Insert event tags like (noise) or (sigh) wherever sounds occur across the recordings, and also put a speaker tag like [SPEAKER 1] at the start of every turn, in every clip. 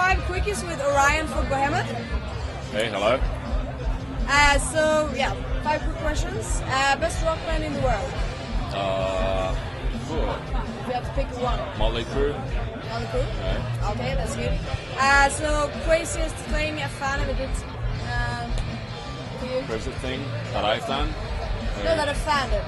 [SPEAKER 1] Uh, quickies with Orion for Bohemet.
[SPEAKER 2] Hey, hello.
[SPEAKER 1] Uh, so yeah, five quick questions. Uh, best rock band in the world.
[SPEAKER 2] Uh, cool.
[SPEAKER 1] If you have to pick one
[SPEAKER 2] Motley Crue.
[SPEAKER 1] on the crew.
[SPEAKER 2] Right.
[SPEAKER 1] Okay, that's good. Uh, so craziest thing a fan ever did uh, for you?
[SPEAKER 2] Crazy thing that I've done.
[SPEAKER 1] No, that a fan did.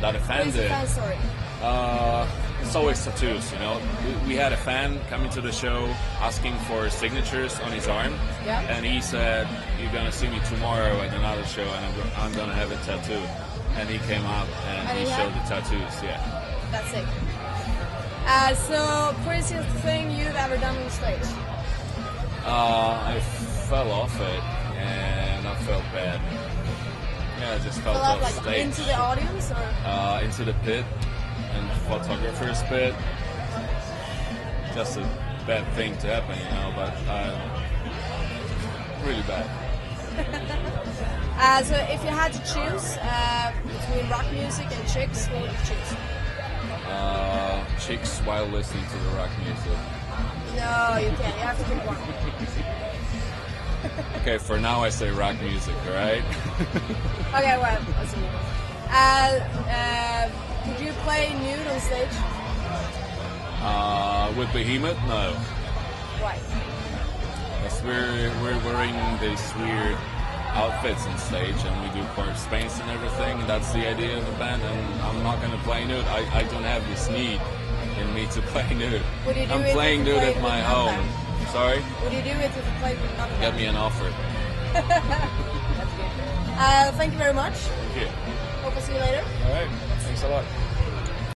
[SPEAKER 2] That
[SPEAKER 1] Crazy
[SPEAKER 2] offended.
[SPEAKER 1] fan story.
[SPEAKER 2] Uh, it's always tattoos, you know. We, we had a fan coming to the show asking for signatures on his arm,
[SPEAKER 1] Yeah.
[SPEAKER 2] and he said, "You're gonna see me tomorrow at another show, and I'm, go- I'm gonna have a tattoo." And he came up and,
[SPEAKER 1] And
[SPEAKER 2] he
[SPEAKER 1] he had-
[SPEAKER 2] showed the tattoos. Yeah.
[SPEAKER 1] That's it. Uh, so craziest thing you've ever done on stage.
[SPEAKER 2] Uh, I fell off it, and I felt bad. Yeah, I just fell
[SPEAKER 1] Fell out
[SPEAKER 2] off
[SPEAKER 1] like
[SPEAKER 2] stage
[SPEAKER 1] into the audience or
[SPEAKER 2] uh, into the pit and photographer's pit. Just a bad thing to happen, you know. But uh, really bad.
[SPEAKER 1] uh, so if you had to choose uh, between rock music and chicks, what would you choose?
[SPEAKER 2] uh, chicks while listening to the rock music.
[SPEAKER 1] No, you can't. You have to pick one.
[SPEAKER 2] Okay, for now I say rock music, alright?
[SPEAKER 1] Okay, well, that's a move. Uh, uh, could you play nude on stage?
[SPEAKER 2] (laughs) Uh, with Behemoth? No.
[SPEAKER 1] Why?
[SPEAKER 2] 'Cause we're, we're wearing these weird outfits on stage and we do corpse paints and everything. And that's the idea of the band and I'm not gonna play nude. I, I don't have this need in me to (laughs) play nude.
[SPEAKER 1] Would you do
[SPEAKER 2] I'm
[SPEAKER 1] it if
[SPEAKER 2] playing
[SPEAKER 1] you
[SPEAKER 2] nude
[SPEAKER 1] played
[SPEAKER 2] at my
[SPEAKER 1] with
[SPEAKER 2] home. Sorry?
[SPEAKER 1] Would you do it if you played with another
[SPEAKER 2] Get
[SPEAKER 1] band?
[SPEAKER 2] me an offer.
[SPEAKER 1] That's good. Uh, thank you very much.
[SPEAKER 2] Thank you.
[SPEAKER 1] Hope I see you later.
[SPEAKER 2] Alright, thanks a lot.